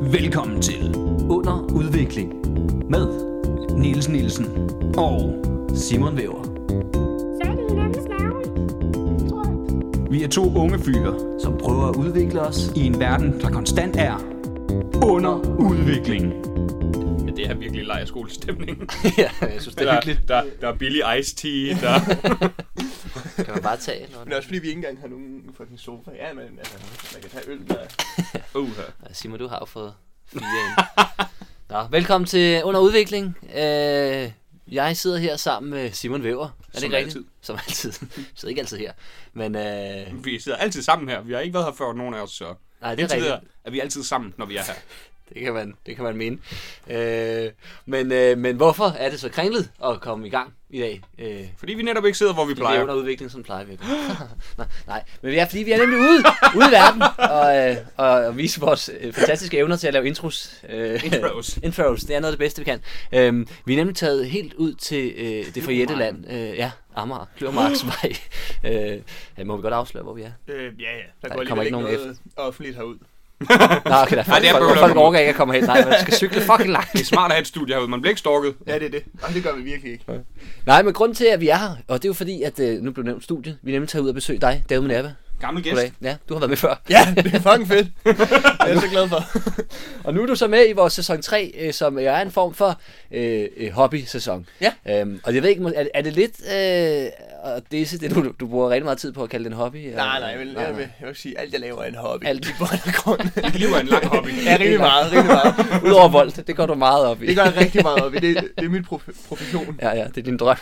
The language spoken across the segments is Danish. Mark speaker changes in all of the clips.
Speaker 1: Velkommen til
Speaker 2: Under udvikling med
Speaker 1: Niels Nielsen og
Speaker 2: Simon Væver,
Speaker 3: Så er det hinandens navn. Tror jeg.
Speaker 1: vi er to unge fyre
Speaker 2: som prøver at udvikle os.
Speaker 1: i en verden, der konstant er under udvikling.
Speaker 4: Ja, det er virkelig lejerskolestemning.
Speaker 5: ja, jeg synes, det
Speaker 4: Der,
Speaker 5: er hyggeligt.
Speaker 4: der, der er billig iced tea, der...
Speaker 5: Det kan man bare tage. Når
Speaker 6: Men det er også fordi, vi ikke engang har nogen fucking sofa. Ja, men altså, man kan tage øl der.
Speaker 4: Uh,
Speaker 5: Ja, Simon, du har jo fået fire ind. Nå, velkommen til Under Udvikling. Øh, jeg sidder her sammen med Simon Væver. Er det
Speaker 4: Som
Speaker 5: ikke rigtigt?
Speaker 4: altid.
Speaker 5: Som altid. Jeg sidder ikke altid her. Men øh, nej,
Speaker 4: vi sidder altid sammen her. Vi har ikke været her før, nogen af os, så...
Speaker 5: det er rigtigt.
Speaker 4: Tidligere er vi altid sammen, når vi er her.
Speaker 5: Det kan man, det kan man mene. Øh, men, øh, men hvorfor er det så kringlet at komme i gang i dag? Øh,
Speaker 4: Fordi vi netop ikke sidder, hvor vi
Speaker 5: vi er
Speaker 4: plejer.
Speaker 5: under udvikling, sådan plejer vi at gøre. Nå, Nej, men det er fordi, vi er nemlig ude, ude i verden og, øh, og, og vise vores øh, fantastiske evner til at lave intros. Øh,
Speaker 4: Intros.
Speaker 5: intros, det er noget af det bedste, vi kan. Øhm, vi er nemlig taget helt ud til øh, det forjætte land. Øh, ja, Amager, Kløvermarksvej. øh, ja, må vi godt afsløse, hvor vi er?
Speaker 6: Øh, ja, ja. Der,
Speaker 5: Der
Speaker 6: går
Speaker 5: kommer
Speaker 6: alligevel
Speaker 5: ikke
Speaker 6: ikke
Speaker 5: nogen
Speaker 6: noget offentligt herud.
Speaker 5: Nå, okay, der er
Speaker 4: det er
Speaker 5: folk, folk,
Speaker 4: bøvlet.
Speaker 5: folk overgår ikke at komme hen. Nej, man skal cykle fucking langt.
Speaker 4: Det er smart at have et studie herude. Man bliver ikke stalket.
Speaker 6: Ja, det er det. Og det gør vi virkelig ikke.
Speaker 5: Nej, men grunden til, at vi er her, og det er jo fordi, at øh, nu blev nævnt studiet. Vi er nemlig taget ud og besøge dig, David Minerva.
Speaker 4: Gammel gæst.
Speaker 5: Goddag. Ja, du har været med før.
Speaker 6: Ja, det er fucking fedt. Det er jeg så glad for.
Speaker 5: Og nu er du så med i vores sæson 3, øh, som jo er en form for øh, øh, hobby-sæson.
Speaker 6: Ja.
Speaker 5: Øhm, og jeg ved ikke, må- er, er det lidt... Øh, og det er så det, du, du bruger rigtig meget tid på at kalde det en hobby? øh,
Speaker 6: Nej, nej, jeg vil, jeg vil, jeg vil sige, alt jeg laver er en hobby.
Speaker 5: Alt.
Speaker 6: i bund og grund.
Speaker 4: Dit liv er en lang hobby.
Speaker 6: Ja, rigtig meget, rigtig meget.
Speaker 5: Udover vold, det går du meget op i.
Speaker 6: Det gør jeg rigtig meget op i. Det, det er min prof- profession.
Speaker 5: Ja, ja, det er din drøm.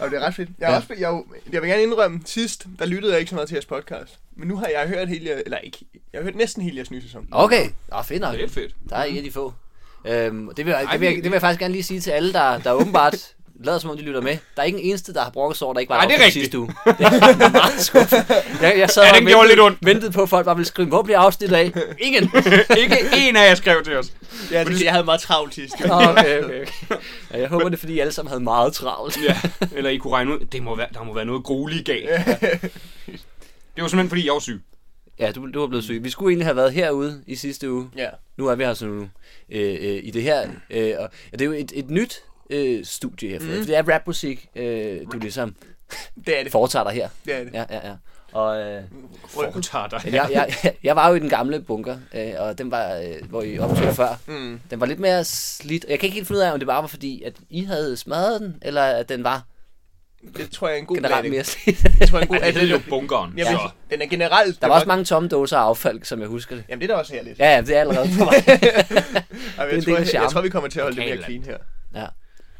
Speaker 6: Og det er ret fedt. Jeg, er
Speaker 5: Ja.
Speaker 6: også, jeg, er jo- jeg vil gerne indrømme, sidst, der lyttede jeg ikke så meget til jeres podcast. Men nu har jeg hørt hele, eller ikke, jeg har hørt næsten hele jeres nye sæson.
Speaker 5: Okay, ah, fedt nok.
Speaker 4: Det er lidt fedt.
Speaker 5: Der er en af de få. Øhm, og det, vil jeg,
Speaker 4: Ej,
Speaker 5: det, vil jeg,
Speaker 4: men-
Speaker 5: det vil jeg faktisk gerne lige sige til alle, der, der åbenbart lader som om, de lytter med. Der er ikke en eneste, der har brokket sig over, der ikke var
Speaker 4: Ej,
Speaker 5: en
Speaker 4: det er
Speaker 5: optag
Speaker 4: rigtigt.
Speaker 5: sidste uge. Det er meget skuffet. Jeg, jeg sad
Speaker 4: Ja,
Speaker 5: og
Speaker 4: den gjorde
Speaker 5: ventede-
Speaker 4: lidt ondt.
Speaker 5: ventede på, at folk bare ville skrive, hvor bliver afsnittet af? Ingen.
Speaker 4: Ikke en af jer skrev til os.
Speaker 6: Ja, det, jeg havde meget travlt sidst.
Speaker 5: Nå, øh, okay, okay, okay. Ja, jeg håber, det er, fordi I alle sammen havde meget travlt.
Speaker 4: Ja. Eller I kunne regne ud, det må være, der må være noget grueligt galt. Det var simpelthen, fordi jeg var syg.
Speaker 5: Ja, du, du var blevet syg. Vi skulle egentlig have været herude i sidste uge.
Speaker 6: Ja.
Speaker 5: Nu er vi her så nu øh, øh, i det her. Øh, og, ja, det er jo et, et nyt øh, studie, jeg har fået. Mm. Det er rapmusik, øh, du ligesom
Speaker 6: Det er det.
Speaker 5: foretager dig her.
Speaker 6: Det er det.
Speaker 5: Ja, ja, ja. Og øh,
Speaker 4: Foretager dig.
Speaker 5: jeg, jeg, jeg var jo i den gamle bunker, øh, og den var, øh, hvor I optog før.
Speaker 6: Mm.
Speaker 5: Den var lidt mere slidt. Jeg kan ikke helt finde ud af, om det bare var fordi, at I havde smadret den, eller at den var
Speaker 6: Det tror jeg er en god
Speaker 5: generelt
Speaker 6: blanding.
Speaker 5: mere slidt.
Speaker 6: Det tror jeg er en
Speaker 4: Ej,
Speaker 6: god
Speaker 4: det er jo
Speaker 6: anledning.
Speaker 4: bunkeren.
Speaker 6: Jamen,
Speaker 4: Så.
Speaker 6: den er generelt...
Speaker 5: Der var også mange tomme dåser af affald, som jeg husker det.
Speaker 6: Jamen, det er da også herligt.
Speaker 5: Ja, ja, det er allerede på vej.
Speaker 6: Ej, men
Speaker 5: det er en
Speaker 6: jeg,
Speaker 5: del
Speaker 6: tror,
Speaker 5: af
Speaker 6: jeg, jeg
Speaker 5: charmen.
Speaker 6: tror, vi kommer til at holde det mere
Speaker 4: Lokalt.
Speaker 6: clean her.
Speaker 5: Ja.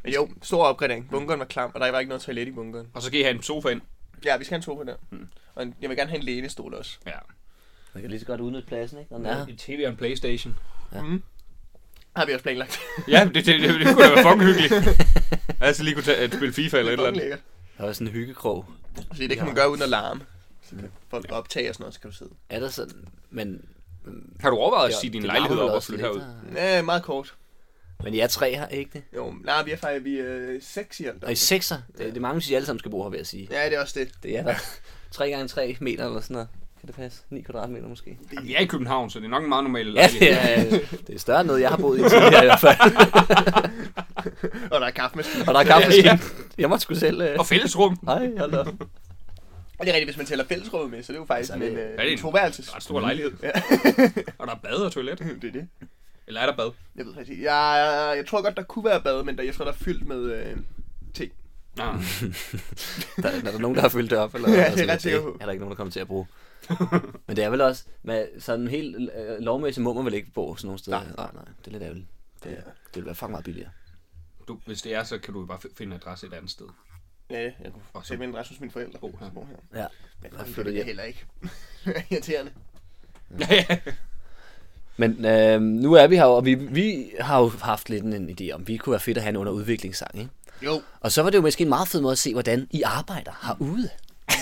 Speaker 6: Men jo, stor opgradering. Bunkeren var klam, og der var ikke noget toilet i bunkeren.
Speaker 4: Og så kan I have en sofa ind.
Speaker 6: Ja, vi skal have en sofa der.
Speaker 4: Mm.
Speaker 6: Og en, jeg vil gerne have en lænestol også.
Speaker 4: Ja.
Speaker 5: Man kan lige så godt udnytte pladsen, ikke? Den er.
Speaker 4: En tv og en Playstation.
Speaker 6: Har vi også planlagt.
Speaker 4: Ja, det, det, det, det kunne da være fucking hyggeligt. altså lige kunne tage, at spille FIFA eller et eller andet.
Speaker 6: lækkert.
Speaker 5: Der er også en hyggekrog.
Speaker 6: Fordi det kan man gøre uden at larme. Så kan folk optage og sådan noget, så kan du sidde.
Speaker 5: Er der sådan... Men,
Speaker 4: Har du overvejet at
Speaker 5: Ja,
Speaker 4: sige din
Speaker 5: det
Speaker 4: lejlighed
Speaker 5: larmer vel
Speaker 4: op og
Speaker 5: også
Speaker 4: flytte
Speaker 5: lidt,
Speaker 4: herud?
Speaker 5: og-
Speaker 6: Ja, meget kort.
Speaker 5: Men I er tre her, ikke det?
Speaker 6: Jo, nej, vi er faktisk vi er seks i alt.
Speaker 5: Og I er sekser. Det, det er mange, hvis I alle sammen skal bo her, vil jeg sige.
Speaker 6: Ja, det er også det.
Speaker 5: Det er der. 3 gange 3 meter eller sådan noget. Kan det passe? 9 kvadratmeter måske.
Speaker 4: Jamen, Vi er i København, så det er nok en meget normal
Speaker 5: Ja,
Speaker 4: lejlighed.
Speaker 5: det er, det er større end noget, jeg har boet i tidligere i hvert fald.
Speaker 6: Og der er kaffemaskine.
Speaker 5: Og der er kaffemaskine. Jeg måtte sgu selv... Øh...
Speaker 4: Og fællesrum.
Speaker 5: Hej, hold da op.
Speaker 6: Og det er rigtigt, hvis man tæller fællesrummet med, så det er jo faktisk
Speaker 5: Altså,
Speaker 6: en,
Speaker 5: det-
Speaker 6: øh,
Speaker 4: det
Speaker 6: en
Speaker 4: en-
Speaker 6: toværelses.
Speaker 4: Ret stor lejlighed.
Speaker 6: Ja.
Speaker 4: Og der er bad og toilet.
Speaker 6: det er det.
Speaker 4: Eller er der bad?
Speaker 6: Jeg ved faktisk ikke. Jeg, jeg, jeg tror godt, der kunne være bad, men der, jeg tror, der er fyldt med øh, ting.
Speaker 4: Nå.
Speaker 5: Der, der er der nogen, der har fyldt det op? Eller,
Speaker 6: Ja, det er
Speaker 5: eller sådan
Speaker 6: ret
Speaker 5: noget.
Speaker 6: sikker på.
Speaker 5: Er der ikke nogen, der kommer til at bruge? Men det er vel også, med sådan helt øh, lovmæssigt må man vel ikke bo sådan nogle steder. Nej, nej, nej det er lidt ærgerligt. Det, det vil være fucking meget billigere.
Speaker 4: Du, hvis det er, så kan du jo bare f- finde en adresse et andet sted.
Speaker 6: Ja, jeg kunne
Speaker 4: Og så-
Speaker 6: sætte min adresse hos mine forældre.
Speaker 4: Bo her.
Speaker 6: Så Bo her.
Speaker 5: Ja.
Speaker 6: Men
Speaker 5: Jeg flytter
Speaker 6: jeg flytter
Speaker 5: hjem.
Speaker 6: jeg heller ikke. Irriterende.
Speaker 4: Ja, ja.
Speaker 5: Men øh, nu er vi her, og vi, vi har jo haft lidt en, en idé om, vi kunne være fedt at have en underudviklingssang, ikke?
Speaker 6: Jo.
Speaker 5: Og så var det jo måske en meget fed måde at se, hvordan I arbejder herude.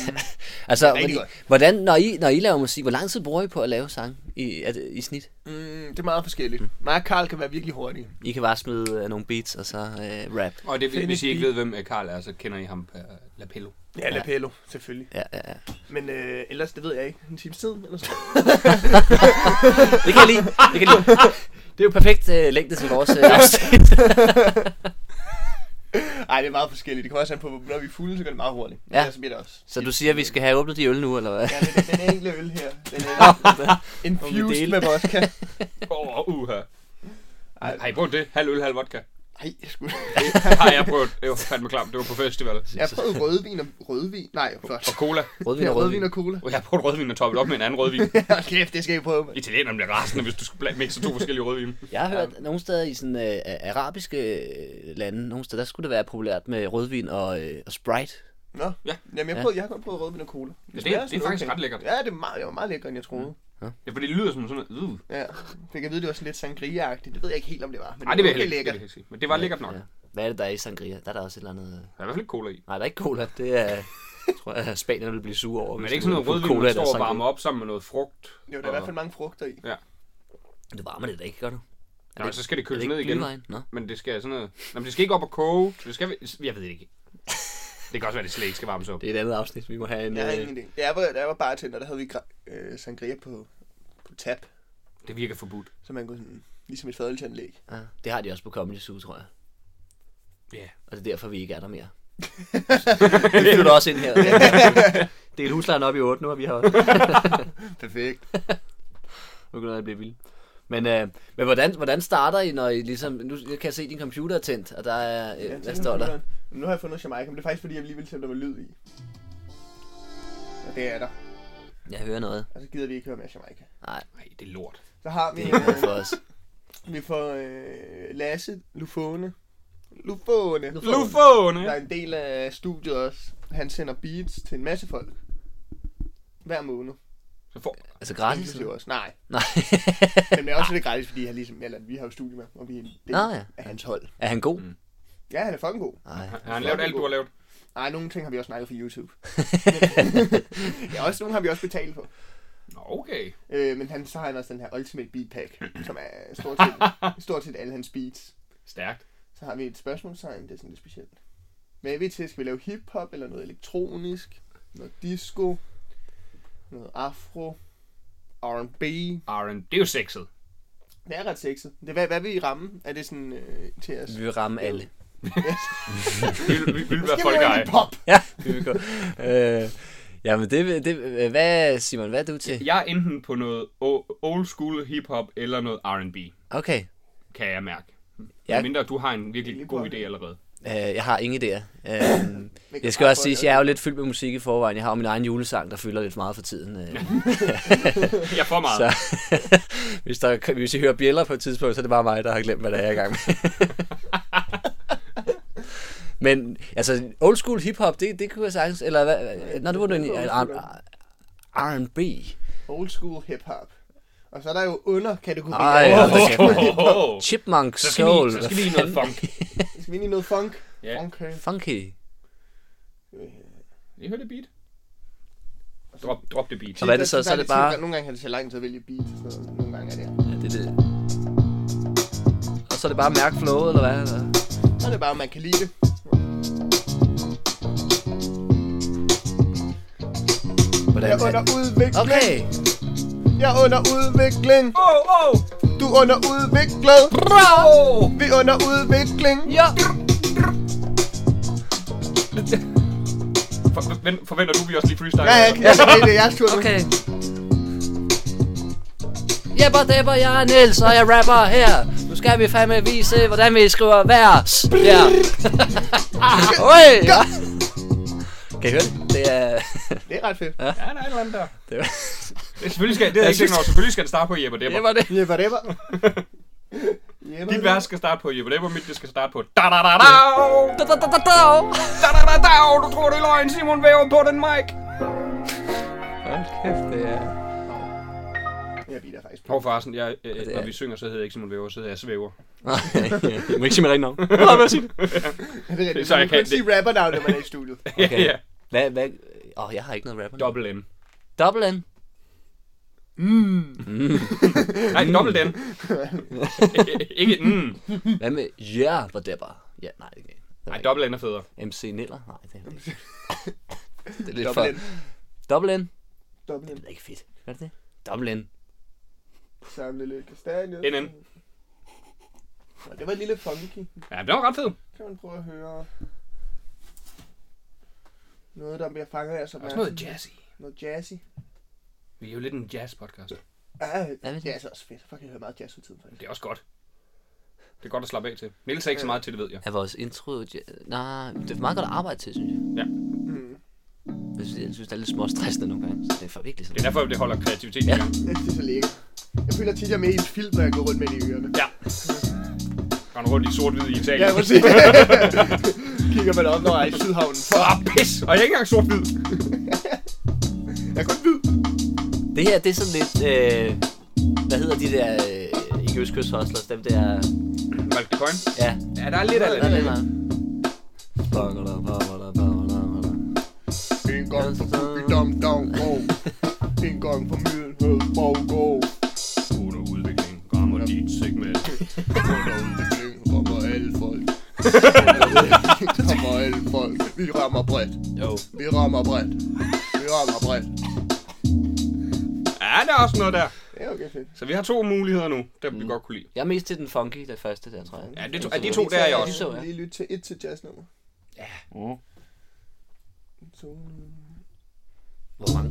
Speaker 5: altså,
Speaker 6: rigtig
Speaker 5: hvordan,
Speaker 6: godt.
Speaker 5: hvordan, når, I, når I laver musik, hvor lang tid bruger I på at lave sang i, at, i snit?
Speaker 6: Mm, det er meget forskelligt. Mig og Carl kan være virkelig hurtige.
Speaker 5: I kan bare smide øh, nogle beats og så øh, rap.
Speaker 4: Og det, hvis I
Speaker 6: Finish
Speaker 4: ikke ved, hvem øh, Karl er, så kender I ham på øh, Lapello.
Speaker 6: Ja, Lapello, selvfølgelig.
Speaker 5: Ja, ja, ja.
Speaker 6: Men øh, ellers, det ved jeg ikke. En times tid eller sådan
Speaker 5: Det kan jeg lide. Det, kan jeg lide. det er jo perfekt øh, længde til vores øh, afsnit.
Speaker 6: Nej, det er meget forskelligt. Det kommer også an på, når vi er fulde, så går det meget hurtigt.
Speaker 5: Ja.
Speaker 6: Så bliver det også.
Speaker 5: Så du siger, at vi skal have åbnet de øl nu, eller hvad?
Speaker 6: Ja, det er den enkle øl her. Den er
Speaker 5: Må vi
Speaker 6: infused
Speaker 5: dele?
Speaker 6: med vodka.
Speaker 4: Åh, oh, uha.
Speaker 6: Ej.
Speaker 4: Har I prøvet det? Halv øl, halv vodka.
Speaker 6: Nej, jeg skulle...
Speaker 4: Har jeg prøvet. Det var fandme klamt. Det var på festival.
Speaker 6: Jeg har prøvet rødvin og rødvin. Nej, flot.
Speaker 4: Og cola.
Speaker 5: Rødvin
Speaker 6: Ja,
Speaker 5: og
Speaker 6: rødvin
Speaker 5: rødvin.
Speaker 6: og cola.
Speaker 4: Og jeg har prøvet rødvin og toppet op med en anden rødvin.
Speaker 6: Hold kæft, det skal I prøve. mand.
Speaker 4: Italienerne bliver rasende, hvis du skal blande mixe to forskellige rødvin.
Speaker 5: Jeg har hørt, at nogle steder i sådan, øh, arabiske øh, lande, nogle steder, der skulle det være populært med rødvin og, øh, og Sprite.
Speaker 6: Nå,
Speaker 4: Ja.
Speaker 6: jamen, jeg,
Speaker 5: Ja.
Speaker 6: prøvede, jeg har kun prøvet rødvin og cola.
Speaker 4: det-
Speaker 6: smager
Speaker 4: det er
Speaker 6: sådan
Speaker 4: faktisk ret lækkert.
Speaker 6: Ja, det er meget, det var meget lækkert, end jeg troede.
Speaker 4: Ja, for det lyder som sådan noget. Uh.
Speaker 6: Ja, fik jeg vide, det var sådan lidt sangria-agtigt. Det ved jeg ikke helt, om det var. Men
Speaker 4: Nej, det vil jeg
Speaker 6: var
Speaker 4: heller ikke. Det
Speaker 6: lækkert.
Speaker 4: vil jeg ikke sige. Men det var lækkert nok.
Speaker 5: Ja. Hvad er det, der er i sangria? Der er der også et eller andet... øh,
Speaker 4: Der er i hvert fald ikke cola i.
Speaker 5: Nej, der er ikke cola. Det er... Jeg tror, at Spanien vil blive sure over.
Speaker 4: Men er
Speaker 5: hvis
Speaker 4: det ikke
Speaker 5: du
Speaker 4: sådan noget
Speaker 5: putter
Speaker 4: rødvin,
Speaker 5: i
Speaker 4: man
Speaker 5: deres
Speaker 4: står og
Speaker 5: sangria?
Speaker 4: varmer op sammen med noget frugt?
Speaker 6: Jo, der er i hvert fald mange frugter i.
Speaker 5: Du varmer det da ikke, gør du?
Speaker 4: Nå, men så skal det
Speaker 5: Er det
Speaker 4: køles ned
Speaker 5: ikke
Speaker 4: igen.
Speaker 5: glühwein? Nå.
Speaker 4: Men det skal sådan noget... Nå, men det skal ikke op og koge. Det skal... Jeg ved det ikke. Det kan også være, det slet ikke skal varmes op.
Speaker 5: Det er et andet afsnit, vi må have en...
Speaker 6: Jeg har
Speaker 5: Øh...
Speaker 6: ingen idé. Da jeg var, da jeg var bartender, der havde vi gra- øh, sangria på, på tap,
Speaker 4: Det virker forbudt.
Speaker 6: så man kunne sådan, ligesom et fadelsanlæg.
Speaker 5: Ja, det har de også på Comedy Zoo, tror jeg.
Speaker 4: Ja.
Speaker 5: Og det er derfor, vi ikke er der mere. Vi flytter også ind her. det er huslejen op i 8 nu, og vi har
Speaker 6: Perfekt.
Speaker 5: Nu kan jeg blive vild. Men, øh, men hvordan, hvordan starter I, når I ligesom... Nu kan jeg se, at din computer er tændt, og der er... Øh, hvad står der?
Speaker 6: Nu har jeg fundet Jamaica, men det er faktisk fordi, jeg lige ville se, om der var lyd i. Og det er der.
Speaker 5: Jeg hører noget.
Speaker 6: Og så gider vi ikke høre mere Jamaica.
Speaker 5: Nej,
Speaker 4: Nej, det er lort.
Speaker 6: Så har vi,
Speaker 5: det er ikke noget
Speaker 6: øh,
Speaker 5: for os.
Speaker 6: vi får øh, Lasse Lufone. Lufone.
Speaker 5: Nu får du den.
Speaker 4: Lufone!
Speaker 6: Der er en del af studiet også. Han sender beats til en masse folk. Hver måned.
Speaker 4: Så får...
Speaker 5: Altså gratis?
Speaker 6: Inklusive os. Nej.
Speaker 5: Nej.
Speaker 6: Men det er også lidt gratis, fordi han ligesom, eller, vi har jo studie med, og vi er en del
Speaker 5: Nå, ja.
Speaker 6: af hans hold.
Speaker 5: er han god?
Speaker 4: Mm.
Speaker 6: Ja, han er fucking god.
Speaker 5: Nej.
Speaker 4: Har han lavet alt, du har lavet?
Speaker 6: Nej, nogle ting har vi også snakket for YouTube. ja, også nogle har vi også betalt for.
Speaker 4: Nå, okay.
Speaker 6: Øh, men han, så har han også den her Ultimate Beat Pack, som er stort set, stort set alle hans beats.
Speaker 4: Stærkt.
Speaker 6: Så har vi et spørgsmålstegn, det er sådan lidt specielt. Hvad er vi til? Skal vi lave hiphop eller noget elektronisk? Noget disco? Noget afro? R&B?
Speaker 4: Aaron, det er jo sexet.
Speaker 6: Det er ret sexet. Det, er, hvad, hvad vil I ramme? Er det sådan øh, til os?
Speaker 5: Vi vil ramme alle.
Speaker 4: Vi vil, vi vil være
Speaker 6: Skal vi
Speaker 4: folk
Speaker 6: lave
Speaker 4: ej.
Speaker 6: en pop?
Speaker 5: Ja, vi vil gå. Øh, jamen, det, det, hvad, Simon, hvad er du til?
Speaker 4: Jeg er enten på noget o- old school hip-hop eller noget R&B,
Speaker 5: Okay,
Speaker 4: kan jeg mærke.
Speaker 5: Ja.
Speaker 4: Ja. Mindre du har en
Speaker 6: Lige
Speaker 4: virkelig
Speaker 6: på
Speaker 4: god
Speaker 6: det.
Speaker 4: idé allerede.
Speaker 5: øh, jeg har ingen idéer. Øh, jeg skal også sige, at jeg er jo lidt fyldt med musik i forvejen. Jeg har jo min egen julesang, der fylder lidt meget for tiden. Øh.
Speaker 4: Jeg får meget.
Speaker 5: Så hvis, der, hvis I hører bjæller på et tidspunkt, så er det bare mig, der har glemt, hvad der er jeg er i gang med. Men altså, old school hiphop, det, det kunne jeg sagtens, eller hvad, når du var du egentlig- R- R&B.
Speaker 6: Old school hip-hop. Og så er der jo underkategorier.
Speaker 5: Ej, hold da kæft, mand.
Speaker 4: Åh,
Speaker 5: Chipmunk,
Speaker 4: Så skal, vi,
Speaker 5: soul,
Speaker 4: så skal vi i noget funk.
Speaker 6: Skal vi ind i noget funk?
Speaker 4: Ja.
Speaker 6: Okay.
Speaker 5: funky.
Speaker 4: I hørte det beat? Drop, drop det beat.
Speaker 5: Og hvad er det
Speaker 6: altså,
Speaker 5: så? Så er det bare-
Speaker 6: Nogle gange kan det tage lang tid at vælge beat, og sådan noget. nogle gange er det...
Speaker 5: Ja, det er det. Og så er det bare mærk flowet, eller hvad? Eller?
Speaker 6: Så er det bare, om man kan lide det. Jeg
Speaker 5: Hvordan?
Speaker 6: er under udvikling.
Speaker 5: Okay,
Speaker 6: Jeg er under udvikling.
Speaker 4: Åh, åh!
Speaker 6: Du er under udviklet. Vi er under udvikling.
Speaker 5: ja.
Speaker 4: Forvent- Forventer du, vi også lige freestyle?
Speaker 6: Ja, jeg kan jeg kan lide det. Jeg er sure.
Speaker 5: Okay. Jepper depper, jeg er Niels, og jeg rapper her. Nu skal vi fandme vise, hvordan vi skriver vers. Ja. Oi. Kan I høre det? Det er...
Speaker 6: Det er ret fedt.
Speaker 4: Ja, der er et eller andet der.
Speaker 5: Det var...
Speaker 4: Det- Selvfølgelig skal, det er jeg ikke
Speaker 5: synes-
Speaker 4: tænkt over. Selvfølgelig skal det starte på Jeppe Depper.
Speaker 5: Det var det.
Speaker 6: Jebba debba. Jebba
Speaker 4: Dit
Speaker 6: debba.
Speaker 4: vers skal starte på Jeppe Depper, mit det skal starte på da da da da
Speaker 5: Da, da, da, da, da.
Speaker 4: da da da da Du tror, det er løgn, Simon Væver på den mic.
Speaker 5: Hold kæft, det er...
Speaker 6: Jeg bider faktisk på.
Speaker 4: Hov forresten, jeg, øh,
Speaker 5: det er-
Speaker 4: når vi synger, så hedder jeg ikke Simon Væver, så hedder jeg Svæver.
Speaker 5: Nej, jeg må ikke sige mig rigtig navn. Hvad
Speaker 6: Det er rigtigt.
Speaker 4: Så jeg
Speaker 6: Man
Speaker 4: kan
Speaker 6: ikke
Speaker 4: det.
Speaker 6: sige rapper navn, når man er i studiet.
Speaker 4: Okay. ja,
Speaker 5: Hvad, hvad, Åh, oh, jeg har ikke noget rapper.
Speaker 4: Dobbelt M.
Speaker 5: Double N.
Speaker 4: Nej, dobbelt M. ikke mm.
Speaker 5: Hvad med Yeah, hvor depper? Ja, nej, det er ikke.
Speaker 4: Nej, dobbelt N er federe.
Speaker 5: MC Niller? Nej, det er det ikke. det er lidt
Speaker 6: Dobbelt N.
Speaker 5: for... Double N?
Speaker 6: Dobbelt
Speaker 5: Det
Speaker 6: N.
Speaker 5: er ikke fedt. Hvad er det? Double N.
Speaker 6: Samle lidt kastanjer.
Speaker 4: NN.
Speaker 6: Nå, Det var et lille funky.
Speaker 4: Ja, det var ret fedt.
Speaker 6: Kan man prøve at høre noget, der bliver fanget af sig.
Speaker 4: Også noget jazzy.
Speaker 6: Noget jazzy.
Speaker 4: Vi er jo lidt en jazz-podcast.
Speaker 6: Ah,
Speaker 5: Hvad med
Speaker 6: det er altså også fedt. Fuck, jeg hører meget jazz for tiden, faktisk.
Speaker 4: Det er også godt. Det er godt at slappe af til. Niels er ikke så meget til det, ved jeg.
Speaker 5: Er vores intro... Ja, nej, det er meget godt at arbejde til, synes jeg.
Speaker 6: Mm.
Speaker 5: Jeg synes, jeg synes det er lidt småstressende nogle gange. Så det er for virkelig
Speaker 4: Det er
Speaker 5: sådan.
Speaker 4: derfor, det holder kreativiteten i gang.
Speaker 6: Jeg synes, det er så lækkert. Jeg føler tit, jeg er med i en film, når jeg går rundt med det i ørerne.
Speaker 4: Ja. Rende rundt i sort-hvid i Italien.
Speaker 6: Ja, præcis. Kigger man op, når jeg er i Sydhavnen. Fuck,
Speaker 4: Ah, pis! Og jeg er ikke engang sort-hvid.
Speaker 6: jeg er kun hvid.
Speaker 5: Det her, det er sådan lidt... Øh, hvad hedder de der... Øh, ikke Østkyst Hustlers, dem der...
Speaker 4: Malk de Coin.
Speaker 5: Ja,
Speaker 4: Ja, der er lidt af
Speaker 5: der
Speaker 4: det.
Speaker 5: er lidt meget. Bakker der, bakker der, bakker der, bakker der.
Speaker 6: En gang for Bubi Dom Dom Go. En gang for Middelhedsborg Go.
Speaker 4: Under udvikling rammer dit segment.
Speaker 6: Under udvikling rammer alle folk. rammer alle folk. Vi rammer bredt.
Speaker 5: Jo.
Speaker 6: Vi rammer bredt. Vi rammer bredt.
Speaker 4: Ja, der er også noget der.
Speaker 6: Ja, okay, fedt.
Speaker 4: Så vi har to muligheder nu, der vi godt kunne lide.
Speaker 5: Jeg er mest til den funky, den første der, tror jeg.
Speaker 4: Mm. Ja, det to, ja, de to der er jeg
Speaker 5: Ja,
Speaker 4: også.
Speaker 5: de så jeg.
Speaker 6: Lige lytte til et til jazznummer.
Speaker 4: Mm.
Speaker 6: Så,
Speaker 5: Hvor mange?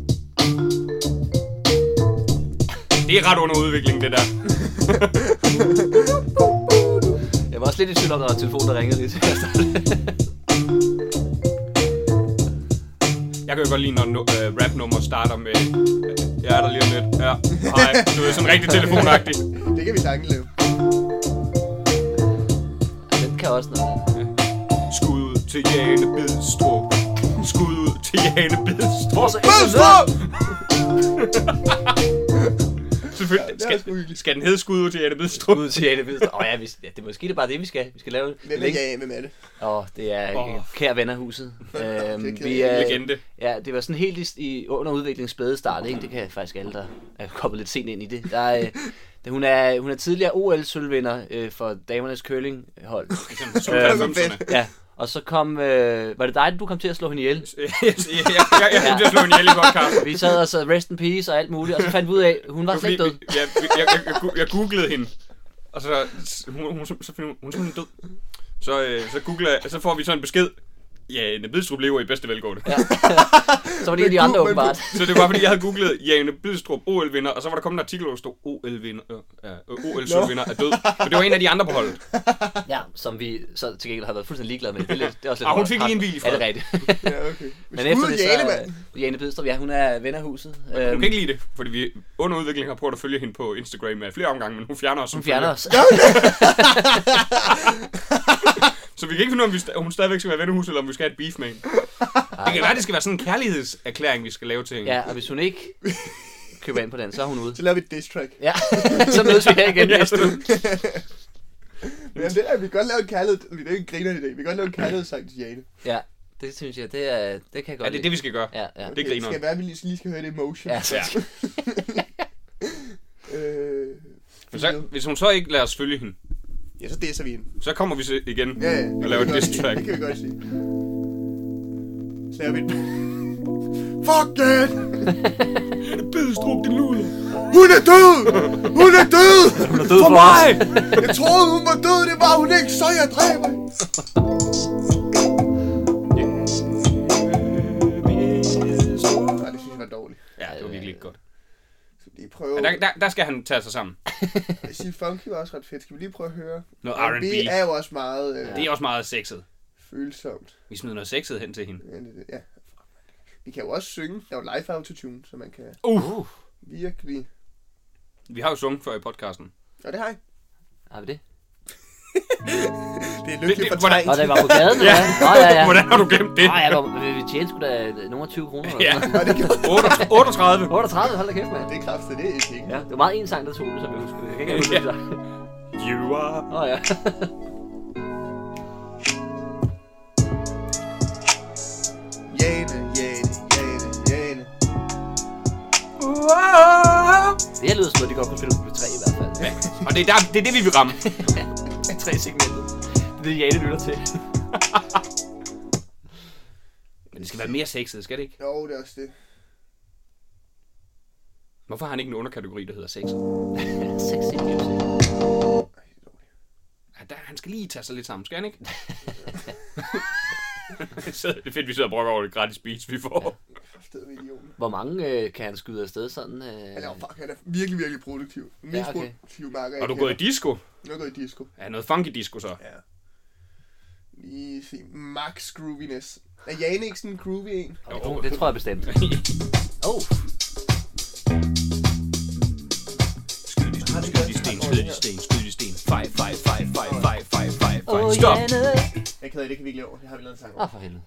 Speaker 4: Det er ret under udvikling, det der.
Speaker 5: Jeg var også lidt i tvivl om, der var en telefon, der ringede lige til at starte.
Speaker 4: Jeg kan jo godt lide, når nu- øh, rapnummer starter med... øh, Jeg er der lige om lidt. Ja, hej. Du er sådan rigtig telefonagtig.
Speaker 6: det kan vi sagtens lave.
Speaker 5: Den kan også noget.
Speaker 4: Skud ud til Jane Bidstrup. Skud ud til Altså, Jane Bidstrup. Selvfølgelig.
Speaker 6: det er sgu
Speaker 4: Skal,
Speaker 6: hyggeligt.
Speaker 4: skal den hedde skud ud til Jane Bidstrup?
Speaker 5: Ud til Jane Hvidstrup. Åh ja, vi, ja, det er måske det er bare det, vi skal. Vi skal lave en
Speaker 6: Hvem er
Speaker 5: link.
Speaker 6: jeg? Hvem er det?
Speaker 5: Åh, det er
Speaker 4: Åh.
Speaker 5: oh. kære venner af huset. Øhm,
Speaker 6: Det er
Speaker 5: vi
Speaker 6: kedeligt.
Speaker 5: er,
Speaker 4: Legende.
Speaker 5: ja, det var sådan helt i, i under udviklings spæde start, ikke? Det kan faktisk alle, der er kommet lidt sent ind i det. Der er, øh, da hun, er, hun er tidligere OL-sølvvinder øh, for damernes curlinghold.
Speaker 4: Som i 90'erne.
Speaker 5: Ja, og så kom... Øh, var det dig, du kom til at slå hende ihjel?
Speaker 4: Øh, jeg, jeg, jeg, jeg, jeg slog en ihjel i podcasten.
Speaker 5: Vi sad og så rest in peace og alt muligt, og så fandt vi ud af, hun var slet ikke
Speaker 4: Fordi,
Speaker 5: død.
Speaker 4: vi- ja, vi- jeg, jeg, jeg, gu- jeg googlede hende, og så, hun, hun, så, så finder hun, hun er simpelthen død. Så, øh, så, googler, jeg- så får vi så en besked. Jane Bidstrup lever i bedste velgående. Ja.
Speaker 5: Så var det en af de andre åbenbart.
Speaker 4: Så det var, fordi jeg havde googlet Jane Bidstrup OL-vinder, og så var der kommet en artikel, hvor der stod OL-vinder, øh, OL-sølvinder er død. Men det var en af de andre på holdet.
Speaker 5: Ja, som vi så til gengæld har været fuldstændig ligeglade med. Det er, lidt, det er også lidt
Speaker 4: Ah, hun
Speaker 5: hårdt.
Speaker 4: fik lige en hvil i
Speaker 5: Ja, det
Speaker 4: fred.
Speaker 5: er rigtigt.
Speaker 6: Ja, okay.
Speaker 5: Men efter
Speaker 6: Skud,
Speaker 5: det
Speaker 6: Jane,
Speaker 5: så...
Speaker 6: mand.
Speaker 5: øh, Jane Bidstrup, ja, hun er ven af huset. Øhm,
Speaker 4: Hun kan ikke lide det, fordi vi under udvikling har prøvet at følge hende på Instagram af flere omgange, men hun fjerner os.
Speaker 5: hun fjerner os.
Speaker 4: Så vi kan ikke finde ud af, om, vi sta- om hun stadigvæk skal være vennehus, eller om vi skal have et beef med hende. Det kan være, det skal være sådan en kærlighedserklæring, vi skal lave til hende.
Speaker 5: Ja, og hvis hun ikke køber ind på den, så er hun ude.
Speaker 6: Så laver vi et diss track.
Speaker 5: Ja, så mødes vi her igen
Speaker 4: Ja,
Speaker 5: næste uge.
Speaker 6: Jamen, det er, vi kan godt lave en kærlighed. Vi er ikke en griner i dag. Vi kan godt lave en kærlighedssang til Jane.
Speaker 5: Ja, det synes jeg, det, er, det kan jeg godt
Speaker 4: Ja, det er det, vi skal gøre.
Speaker 5: lide. Ja, ja.
Speaker 4: Det
Speaker 6: Okay,
Speaker 4: griner.
Speaker 6: skal være, at vi lige, lige skal høre det emotion.
Speaker 5: Ja, så,
Speaker 4: Ja.
Speaker 6: Øh,
Speaker 4: Men så, hvis hun så ikke lader os følge hende,
Speaker 6: ja, så disser vi hende.
Speaker 4: så kommer vi så igen
Speaker 6: Ja, ja. det
Speaker 4: og
Speaker 6: kan
Speaker 4: laver
Speaker 6: vi
Speaker 4: et
Speaker 6: godt
Speaker 4: diss
Speaker 6: se.
Speaker 4: track.
Speaker 6: Det kan vi godt se. Så laver vi et... Fuck it!
Speaker 4: Bidstrup, din luder.
Speaker 6: Hun er død! Hun er død!
Speaker 5: Hun er død
Speaker 6: For mig! Jeg troede, hun var død. Det var hun ikke, så jeg dræber hende. Nej, det synes jeg var dårligt.
Speaker 4: Ja, det var virkelig ikke godt.
Speaker 6: Skal vi lige prøve...
Speaker 4: Men der, der, der skal han tage sig sammen.
Speaker 6: Jeg siger, funky var også ret fedt. Skal vi lige prøve at høre?
Speaker 4: Noget
Speaker 6: Men Vi
Speaker 4: R&B.
Speaker 6: er jo også meget øh,
Speaker 4: Det er også meget sexet.
Speaker 6: følsomt.
Speaker 4: Vi smider noget sexet hen til hende.
Speaker 6: Ja, det, det- ja. Vi kan jo også synge. Der er jo live autotune, så man kan
Speaker 4: Uh!
Speaker 6: virkelig...
Speaker 4: Vi har jo sunget før i podcasten.
Speaker 6: Og det har jeg.
Speaker 5: Har vi det?
Speaker 6: Det er
Speaker 4: Det- det-
Speaker 6: lykkeligt for
Speaker 4: hvordan-
Speaker 5: Nå, det var på gaden, eller
Speaker 4: Ja.
Speaker 5: hvad? Nå, ja, Ah, ja.
Speaker 4: Hvordan har du glemt det?
Speaker 5: Nå, ja, hvor- vi- vi tjente sgu da nogle af 20 kroner. eller
Speaker 4: Ja,
Speaker 5: sådan noget.
Speaker 4: 38. 38.
Speaker 5: 38, hold da kæft, mand.
Speaker 6: Det er kraftigt, det er ikke penge.
Speaker 5: Ja, det var meget en sang, der tog det, som jeg husker. Jeg kan ikke huske
Speaker 4: Ja.
Speaker 5: det.
Speaker 4: You are...
Speaker 5: Åh, ja.
Speaker 6: Jane, Jane, Jane,
Speaker 5: Det her lyder som noget, de godt kunne spille på P3 i hvert fald.
Speaker 4: Ja. Og det er, der, det er det, vi vil ramme.
Speaker 5: Tre segmentet. Det er det, Jane lytter til.
Speaker 4: Men det skal være mere sexet, skal det ikke?
Speaker 6: Jo, det er også det.
Speaker 4: Hvorfor har han ikke en underkategori, der hedder sex?
Speaker 5: Sexy music.
Speaker 6: Ej, det er dårligt.
Speaker 4: Ja, der, han skal lige tage sig lidt sammen, skal han ikke? Så det er fedt, vi sidder og brokker over det gratis beats, vi får.
Speaker 6: Kræftet ved idioten.
Speaker 5: Hvor mange øh, kan han skyde afsted sådan? Øh...
Speaker 6: Han er jo- fuck, han er virkelig, virkelig produktiv. Den Mest
Speaker 5: Ja, okay.
Speaker 6: produktive marker, jeg
Speaker 4: Og du er
Speaker 6: kender.
Speaker 4: gået i disco?
Speaker 6: Jeg er gået i disco.
Speaker 4: Ja, noget funky disco så.
Speaker 6: Ja. Lige se. Max grooviness. Er Jane ikke sådan en groovy en?
Speaker 5: Jo, det tror jeg bestemt. Oh,
Speaker 4: Skyd de sten, skyd de sten, skyd de sten, skyd de sten. Fej, fej, fej, fej, fej, fej, fej, fej. Stop!
Speaker 6: Jeg er ked af, det kan vi ikke lave. Det har vi lavet en sang
Speaker 5: Åh,
Speaker 6: om.
Speaker 5: for helvede.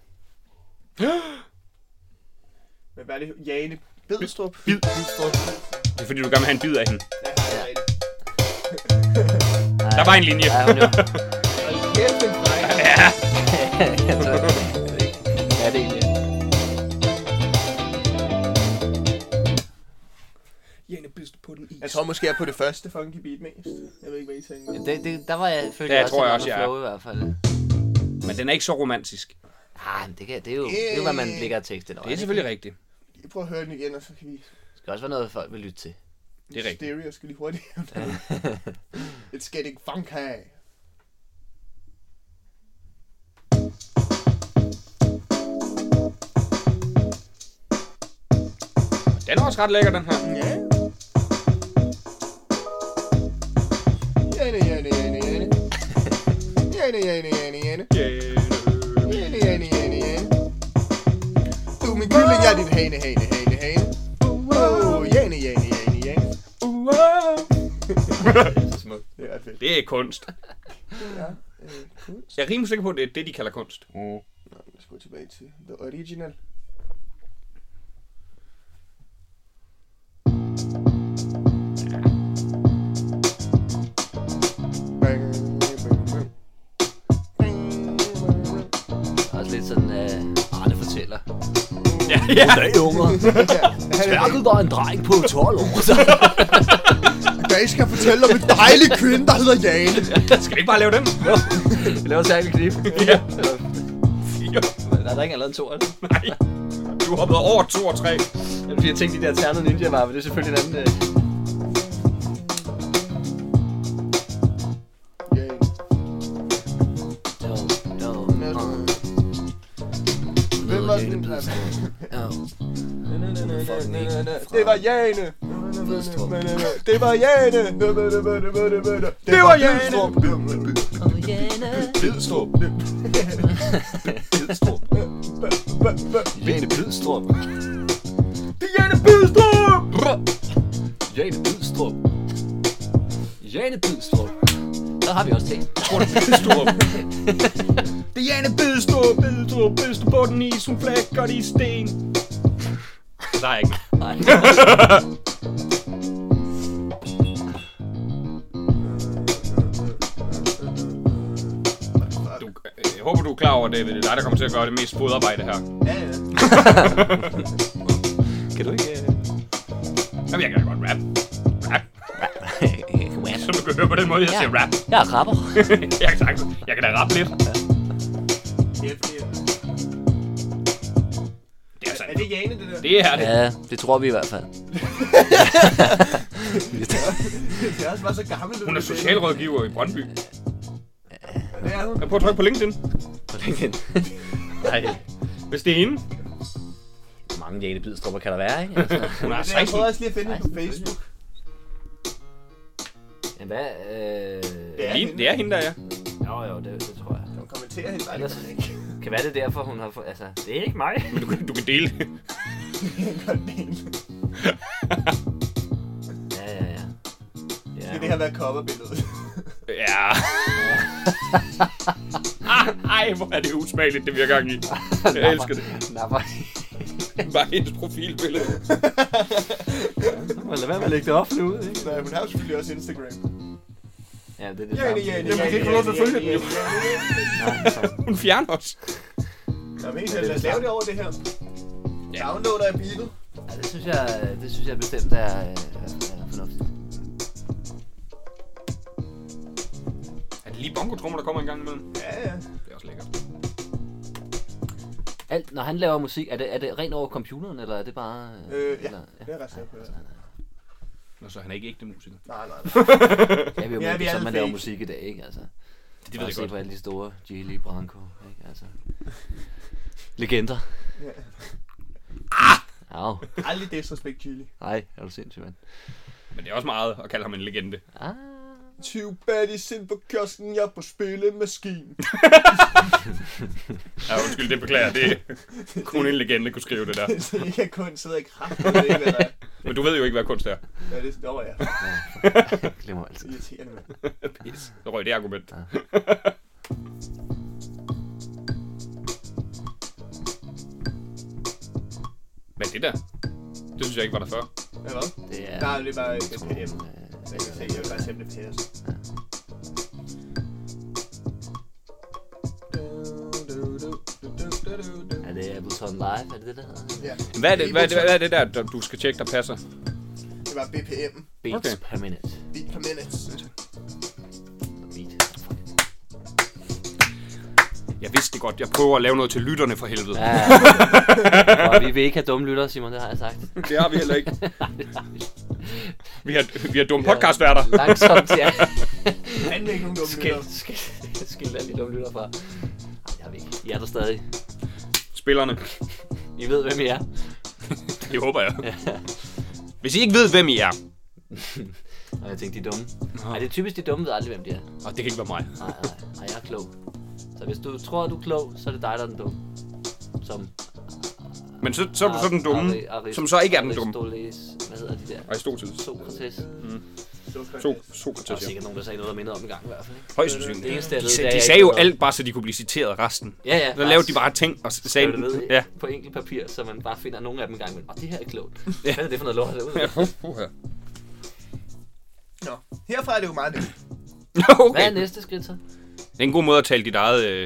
Speaker 6: Men hvad er det? Jane Bedstrup?
Speaker 4: Bid. Det er fordi, du gerne vil have en bid af hende.
Speaker 6: Ja, det er rigtigt.
Speaker 4: Der var en linje.
Speaker 5: Ja, hun jo.
Speaker 6: Og kæft, en dreng.
Speaker 5: Ja, det er egentlig.
Speaker 4: Jane bidste på den is.
Speaker 6: Jeg tror måske, jeg er på det første funky beat mest. Jeg ved ikke, hvad I tænker.
Speaker 5: Det, det, der var jeg, følte
Speaker 4: Ja,
Speaker 5: jeg
Speaker 4: jeg tror jeg
Speaker 5: også,
Speaker 4: også,
Speaker 5: at
Speaker 4: jeg er.
Speaker 5: jeg flow i hvert fald.
Speaker 4: Men den er ikke så romantisk.
Speaker 5: Ah, men det, kan, det, er jo, det er jo, hvad man
Speaker 6: Øh.
Speaker 5: ligger og tekster over.
Speaker 4: Det er selvfølgelig rigtigt.
Speaker 6: Jeg prøver at høre den igen, og så kan vi...
Speaker 5: Det skal også være noget, folk vil lytte til.
Speaker 4: Det er rigtigt.
Speaker 6: Stereo skal lige hurtigt. It's getting funky.
Speaker 4: Den er også ret lækker, den her.
Speaker 6: Ja. Jane, Jane, Jane, Jane. Jane, Jane, Jane, Jane. Jane, Jane, Jane, Jane. Du er min kylling, jeg er din hane, hane, hane, hane. Wow, Jane, Jane, Jane, Jane. Det er ret fedt.
Speaker 4: Det er kunst.
Speaker 6: Ja, øh, cool.
Speaker 4: Jeg er rimelig sikker på, at det er det, de kalder kunst.
Speaker 6: Nå, lad os gå tilbage til The Original.
Speaker 5: Også lidt sådan, øh, Arne fortæller.
Speaker 4: Ja, ja.
Speaker 5: Hey, unger. Værket var en dreng på 12 år.
Speaker 6: Jeg skal fortælle om en dejlig kvinde, der hedder Jane.
Speaker 4: Skal vi ikke bare lave den?
Speaker 5: Vi laver særlig knip.
Speaker 4: Ja. Fire.
Speaker 5: Der er der ikke allerede to, altså.
Speaker 4: Nej. Du hoppede over to og tre.
Speaker 5: Det er fordi, jeg tænkte, de der ternede ninja var, men det er selvfølgelig en anden... Øh...
Speaker 6: Jane.
Speaker 5: No, no,
Speaker 4: Ah.
Speaker 6: Hvem var den?
Speaker 5: no.
Speaker 6: Det var Jane. øh, Det var Jane. Det var Jane.
Speaker 5: Oh, Jane.
Speaker 4: Bidstrup. Bidstrup. Jane Bidstrup. Det er Jane Bidstrup! Jane Bidstrup. Jane Bidstrup.
Speaker 5: Der har vi også ting.
Speaker 4: Bidstrup. Det er Jane Bidstrup. Bidstrup. Bidstrup på den is. Hun flækker de sten. Der er ikke.
Speaker 5: Nej.
Speaker 4: Du, øh, jeg håber, du er klar over, David. Det er dig, der kommer til at gøre det mest fodarbejde her.
Speaker 6: Ja, ja.
Speaker 4: Kan du ikke... Øh... Jamen, jeg kan da godt rap. Rap. Som du kan høre på den måde, jeg siger rap.
Speaker 5: Jeg er rapper.
Speaker 4: jeg, kan sagtens, jeg kan da rappe lidt. Det er, altså,
Speaker 6: Er det Jane, det der?
Speaker 4: det er det.
Speaker 5: Ja, det tror vi i hvert fald.
Speaker 6: Det er også bare så gammel.
Speaker 4: Hun er socialrådgiver i Brøndby.
Speaker 6: Det er hun.
Speaker 4: Jeg prøver at trykke på LinkedIn.
Speaker 5: På LinkedIn. Nej.
Speaker 4: Hvis det er hende.
Speaker 5: Hvor mange Jane Bidstrupper kan der være, ikke? Altså,
Speaker 4: Hun er
Speaker 6: Jeg
Speaker 4: 16.
Speaker 6: prøvede også lige at finde hende på Facebook.
Speaker 5: men hvad? Øh...
Speaker 6: Det er
Speaker 4: Lige- Det er hende, der er.
Speaker 5: Jo, jo, det, det tror jeg.
Speaker 6: Hun kommenterer hende bare.
Speaker 5: Ellers kan være det er derfor, hun har fået... Altså, det er ikke mig.
Speaker 4: Du kan, du kan dele.
Speaker 5: Ja, ja, ja.
Speaker 6: Det
Speaker 5: Ja,
Speaker 6: er det her været coverbilledet.
Speaker 4: Ja. Ah, Ej, hvor er det usmageligt, det vi har gang i. Jeg elsker det.
Speaker 5: napper.
Speaker 4: Bare hendes profilbillede.
Speaker 5: Lad være med at lægge det offentligt ud, ikke?
Speaker 6: Nej, hun har jo selvfølgelig også Instagram.
Speaker 5: Ja, det er det
Speaker 6: Jane,
Speaker 5: samme.
Speaker 6: Jane,
Speaker 4: Jamen, vi kan ikke få lov til at følge den, jo. Hun fjerner os.
Speaker 6: Jamen, helt seriøst, lad os lave det over det her. Downloader af beatet.
Speaker 5: Ja, det synes jeg, det synes jeg bestemt er, øh, er fornuftigt.
Speaker 4: Lige bongotrummer, der kommer en gang imellem.
Speaker 6: Ja, ja.
Speaker 4: Det er også lækkert.
Speaker 5: Alt, når han laver musik, er det, er det rent over computeren, eller er det bare...
Speaker 6: Øh, ja.
Speaker 5: eller,
Speaker 6: Det er ret sikker på. ja.
Speaker 4: Nå, så han er ikke ægte musiker.
Speaker 6: Nej, nej.
Speaker 5: Ja, vi er jo
Speaker 6: Ja,
Speaker 5: ja,
Speaker 6: vi
Speaker 5: vi
Speaker 6: er
Speaker 5: som
Speaker 6: alle
Speaker 5: man laver
Speaker 6: fake.
Speaker 5: musik i dag, ikke? Altså,
Speaker 4: Det ved
Speaker 5: bare
Speaker 4: jeg
Speaker 5: se
Speaker 4: godt.
Speaker 5: på alle de store, Gilly, Branco, ikke? Altså, legender.
Speaker 6: Ja.
Speaker 5: Au,
Speaker 6: Aldrig disrespekt, Chili.
Speaker 5: nej, er du sindssyg, mand.
Speaker 4: Men det er også meget at kalde ham en legende.
Speaker 5: Ah,
Speaker 6: 20 baddies ind på kiosken, jeg er på spillemaskinen.
Speaker 4: Ja, undskyld, det beklager. Det kun en legende kunne skrive det der.
Speaker 6: så jeg kan kun sidde og kræfte med det, hvad der er.
Speaker 4: Men du ved jo ikke, hvad kunst er.
Speaker 6: Ja, det står jeg.
Speaker 5: jeg glemmer altid.
Speaker 6: Irriterende, mand.
Speaker 4: Pis. Så røg det argument. Hvad er det der? Det synes jeg ikke var der før.
Speaker 6: Ja, hvad?
Speaker 5: Det er...
Speaker 6: Nej, det er bare ikke
Speaker 5: Tror,
Speaker 6: PM.
Speaker 5: øh,
Speaker 6: Altså, Jeg kan se, jeg vil bare tage det til os.
Speaker 5: Er det Ableton Live? Er det det, der hedder?
Speaker 6: Ja,
Speaker 4: Hvad er det, hvad er det, hvad er det der, der, du skal tjekke, der passer?
Speaker 6: det var BPM.
Speaker 4: Okay.
Speaker 5: Beats okay. per minute.
Speaker 6: Beat per minute.
Speaker 5: Beat.
Speaker 4: Jeg vidste det godt. Jeg prøver at lave noget til lytterne for helvede.
Speaker 5: Ja, og vi vil ikke have dumme lyttere, Simon, det har jeg sagt.
Speaker 4: Det har vi heller ikke. Vi har, vi har dumme podcastværter.
Speaker 5: Langsomt, ja.
Speaker 6: Han er ikke nogen dumme
Speaker 5: Skil,
Speaker 6: lytter.
Speaker 5: skil, skil alle de dumme lyttere fra. Ej, jeg ved ikke. I er der stadig.
Speaker 4: Spillerne.
Speaker 5: I ved, hvem I er.
Speaker 4: Det håber jeg. Hvis I ikke ved, hvem I er,
Speaker 5: Og jeg tænkte, de er dumme. Nej, det er typisk, de dumme ved aldrig, hvem de er.
Speaker 4: og det kan ikke være mig.
Speaker 5: Nej, nej, nej, jeg er klog. Så hvis du tror, du er klog, så er det dig, der er den dumme. Som
Speaker 4: Men så, så er du så den dumme,
Speaker 5: Ari- Ari-
Speaker 4: som så ikke er den dumme.
Speaker 5: Aristoteles, hvad hedder de der?
Speaker 4: Aristoteles.
Speaker 5: Sokrates. Der
Speaker 4: So,
Speaker 5: var
Speaker 4: Sokrates, ja.
Speaker 5: sikkert nogen, der sagde noget, der mindede om i gang i hvert fald. Ikke?
Speaker 4: Højst
Speaker 5: Det
Speaker 4: sandsynligt.
Speaker 5: eneste, jeg
Speaker 4: De,
Speaker 5: ved, det
Speaker 4: sag-
Speaker 5: er,
Speaker 4: de
Speaker 5: jeg
Speaker 4: sagde
Speaker 5: ikke
Speaker 4: jo
Speaker 5: ved noget.
Speaker 4: alt, bare så de kunne blive citeret resten.
Speaker 5: Ja, ja.
Speaker 4: Så lavede de bare ting og s- sagde...
Speaker 5: Skriver det ned
Speaker 4: Ja.
Speaker 5: ja. på enkelt papir, så man bare finder nogle af dem en gang. Men, åh, det her er klogt. Hvad er det for noget lort derude?
Speaker 6: Nå, herfra er det jo meget nemt.
Speaker 5: Hvad
Speaker 4: Okay.
Speaker 5: er næste skridt så?
Speaker 4: Det er en god måde at tale dit eget øh,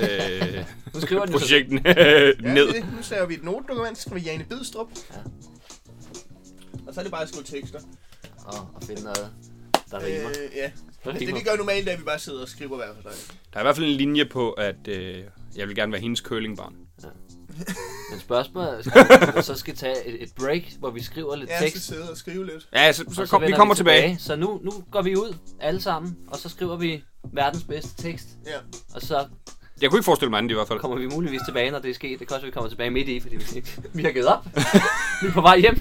Speaker 4: øh,
Speaker 5: Nu skriver den jo så-
Speaker 4: projekt
Speaker 6: Ja,
Speaker 4: ned.
Speaker 6: det er det. Nu laver vi et notedokument, så skriver vi Jane Bidstrup. Ja. Og så er det bare at skrive tekster.
Speaker 5: Åh, og finde noget, der rimer.
Speaker 6: Øh, ja.
Speaker 5: Der
Speaker 6: Det, det vi
Speaker 5: rimer.
Speaker 6: gør normalt, er, at vi bare sidder og skriver hver for sig.
Speaker 4: Der er i hvert fald en linje på, at øh, jeg vil gerne være hendes curlingbarn.
Speaker 5: Men spørgsmålet er, så skal tage et, et break, hvor vi skriver lidt
Speaker 6: Ja, så
Speaker 5: tekst.
Speaker 6: sidde og skrive lidt.
Speaker 4: Ja, så,
Speaker 5: og
Speaker 4: så, kom, vi
Speaker 5: vender
Speaker 4: kommer tilbage.
Speaker 5: Så nu, nu går vi ud alle sammen, og så skriver vi verdens bedste tekst.
Speaker 6: Ja.
Speaker 5: Og så
Speaker 4: Jeg kunne ikke forestille mig andet i hvert fald.
Speaker 5: kommer vi muligvis tilbage, når det er sket. Det kan også, være, vi kommer tilbage midt i, fordi vi, vi har givet op. vi er på vej hjem.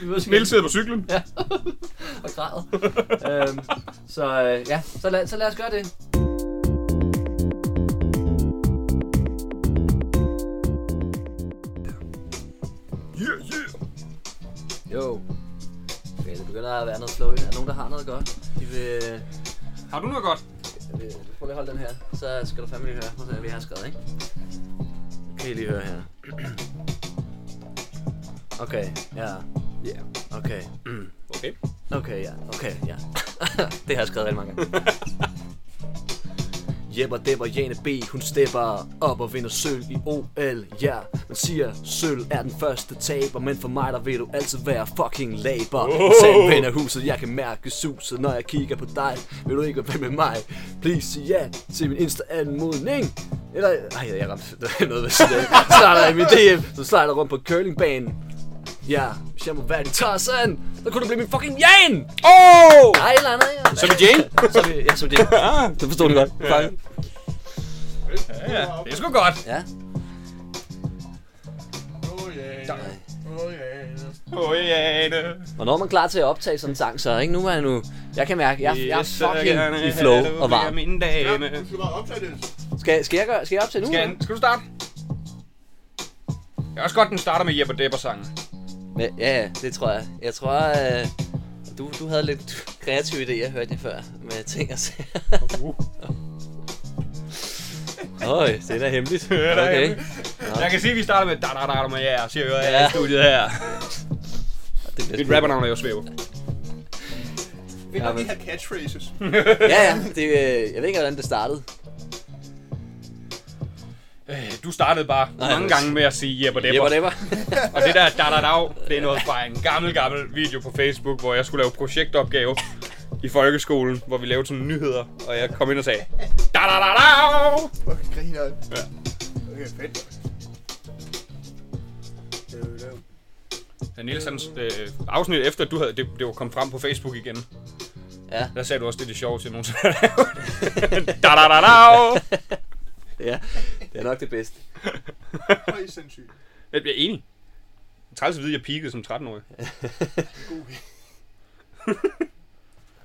Speaker 5: vi mødes igen
Speaker 4: Niels sidder på cyklen.
Speaker 5: og græder. øhm, så øh, ja, så lad, så lad os gøre det.
Speaker 4: Yeah, yeah.
Speaker 5: Jo. Okay, det begynder at være noget flow. Er der nogen, der har noget godt? De vil...
Speaker 4: Har du noget godt?
Speaker 5: Jeg vil prøv lige at holde den her. Så skal du fandme lige høre, hvad jeg har skrevet, ikke? Kan I lige høre her? Okay, ja.
Speaker 4: Ja. Yeah.
Speaker 5: Okay. mm.
Speaker 4: Okay.
Speaker 5: Okay, ja. Okay, ja. det har jeg skrevet rigtig mange gange. Jepper depper Jane B, hun stepper op og vinder sølv i OL, ja. Man siger, sølv er den første taber, men for mig der vil du altid være fucking laber. Oh. Selv ven af huset, jeg kan mærke suset, når jeg kigger på dig. Vil du ikke være med mig? Please sig ja til min Insta-anmodning. Eller, ej, jeg ramte noget ved siden af. Starter i min DM, så starter rundt på curlingbanen. Ja, hvis jeg må være din Tarzan, så kunne du blive min fucking Jan!
Speaker 4: Oh!
Speaker 5: Nej, eller andet, ja.
Speaker 4: Så er vi Jane.
Speaker 5: Så vi, ja, som det. Det forstod du godt. Ja.
Speaker 4: Ja, det er sgu godt.
Speaker 5: ja.
Speaker 6: Oh yeah. Oh yeah.
Speaker 4: Oh, yeah.
Speaker 5: Hvornår er man klar til at optage sådan en sang, så ikke? Nu er jeg nu... Jeg kan mærke, jeg, jeg er fucking i flow og varm.
Speaker 4: Min dame.
Speaker 5: øh.
Speaker 6: Du skal bare optage det.
Speaker 5: Skal, skal, jeg, gøre, skal jeg optage nu?
Speaker 4: Skal, skal du starte? Jeg er også godt, den starter med Jeppe Depper sangen.
Speaker 5: Men, ja, ja, det tror jeg. Jeg tror, øh, du, du havde lidt kreative idéer, hørte jeg før, med ting og sager. Øj, Uh. det er da hemmeligt.
Speaker 4: er da
Speaker 5: Okay.
Speaker 4: hemmeligt. Jeg kan sige, at vi starter med da da da da med jer, siger jeg ja.
Speaker 5: Ja.
Speaker 4: i studiet her.
Speaker 5: Det bliver
Speaker 4: Mit
Speaker 5: spændende.
Speaker 4: rappernavn er jo Svæve.
Speaker 6: Vi kan lige have catchphrases.
Speaker 5: Ja, ja. Det, øh, jeg ved ikke, hvordan det startede.
Speaker 4: Øh, Du startede bare Nej, mange
Speaker 5: men-
Speaker 4: gange med at sige Jeppe
Speaker 5: Det
Speaker 4: Depper.
Speaker 5: var det, var.
Speaker 4: Og det der da da da, det er noget fra en gammel, gammel video på Facebook, hvor jeg skulle lave projektopgave. i folkeskolen, hvor vi lavede sådan nyheder, og jeg kom ind og sagde, da da da da
Speaker 6: Fuck, griner.
Speaker 4: Ja.
Speaker 6: Okay, fedt.
Speaker 4: Ja, Niels, hans øh, afsnit efter, at du havde, det, det var kommet frem på Facebook igen.
Speaker 5: Ja.
Speaker 4: Der sagde du også, det er det sjoveste, jeg nogensinde har lavet. da da da da
Speaker 5: Ja, det er nok det bedste.
Speaker 6: Hvor er I sindssygt.
Speaker 4: Jeg bliver enig. Træls at vide, at jeg peakede som 13-årig.
Speaker 6: God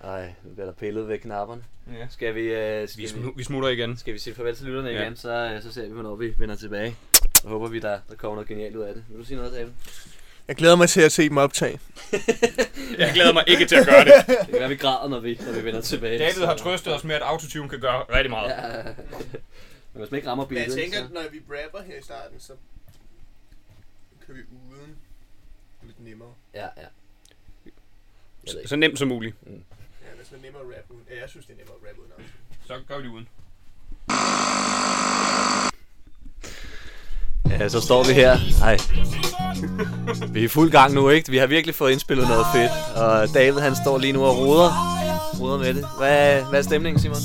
Speaker 5: Ej, nu bliver der pillet ved knapperne.
Speaker 4: Ja.
Speaker 5: Skal vi, øh,
Speaker 4: Vi,
Speaker 5: skal vi,
Speaker 4: smu- vi smutter igen.
Speaker 5: skal vi sige farvel til lytterne
Speaker 4: Ja.
Speaker 5: igen, så, øh, så ser vi, hvornår vi vender tilbage. Så håber vi, der, der kommer noget genialt ud af det. Vil du sige noget, David?
Speaker 6: Jeg glæder mig til at se dem optage.
Speaker 4: Jeg glæder mig ikke til at gøre det.
Speaker 5: Det kan være, vi græder, når vi, når vi vender tilbage.
Speaker 4: David har trøstet os med, at autotune kan gøre rigtig meget. Ja.
Speaker 5: Ja. Men hvis man ikke rammer
Speaker 6: Men jeg
Speaker 5: beatet,
Speaker 6: tænker, at
Speaker 5: så...
Speaker 6: når vi rapper her i starten, så kører vi uden lidt nemmere.
Speaker 5: Ja, ja. Jeg ved
Speaker 4: Så,
Speaker 5: ikke.
Speaker 4: så nemt som muligt.
Speaker 6: Ja, det er sådan nemmere at rappe uden. Ja, jeg synes, det er nemmere at rappe uden. autotune.
Speaker 4: Så gør vi det uden.
Speaker 5: Ja, så står vi her. Ej. Vi er i fuld gang nu, ikke? Vi har virkelig fået indspillet noget fedt. Og David, han står lige nu og roder. Roder med det. Hvad, hvad er stemningen, Simon?